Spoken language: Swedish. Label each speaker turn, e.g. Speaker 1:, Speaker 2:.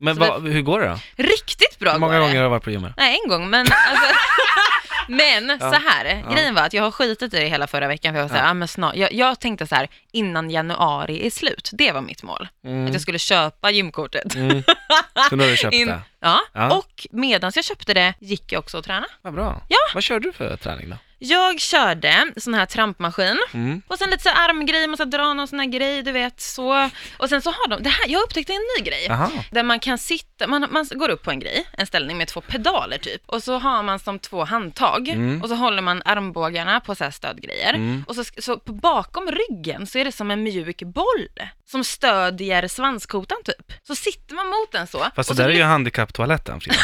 Speaker 1: Men
Speaker 2: Så
Speaker 1: vad- hur går det då?
Speaker 2: Riktigt bra
Speaker 1: Hur många
Speaker 2: går det.
Speaker 1: gånger har du varit på gymmet?
Speaker 2: Nej, en gång, men alltså, Men så här,
Speaker 1: ja.
Speaker 2: grejen var att jag har skitit i det hela förra veckan för jag var så här, ah, men snart, jag, jag tänkte så här, innan januari är slut, det var mitt mål.
Speaker 1: Mm.
Speaker 2: Att jag skulle köpa gymkortet.
Speaker 1: Så nu har du köpt
Speaker 2: In-
Speaker 1: det?
Speaker 2: ja.
Speaker 1: Mm, Ja.
Speaker 2: och medan jag köpte det gick jag också och tränade.
Speaker 1: Vad bra.
Speaker 2: Ja.
Speaker 1: Vad kör du för träning då?
Speaker 2: Jag körde sån här trampmaskin
Speaker 1: Mm.
Speaker 2: och sen lite så här armgrej, man ska dra någon sån här grej, du vet så. Och sen så har de, det här, jag upptäckte en ny grej.
Speaker 1: Aha.
Speaker 2: Där man kan sitta, man, man går upp på en grej, en ställning med två pedaler typ. Och så har man som två handtag
Speaker 1: Mm.
Speaker 2: och så håller man armbågarna på så här stödgrejer.
Speaker 1: Mm.
Speaker 2: Och så, så på- bakom ryggen så är det som en mjuk boll som stödjer svanskotan typ. Så sitter man mot den så.
Speaker 1: Fast det
Speaker 2: och så
Speaker 1: där är
Speaker 2: blir-
Speaker 1: ju handikapptoaletten Frida.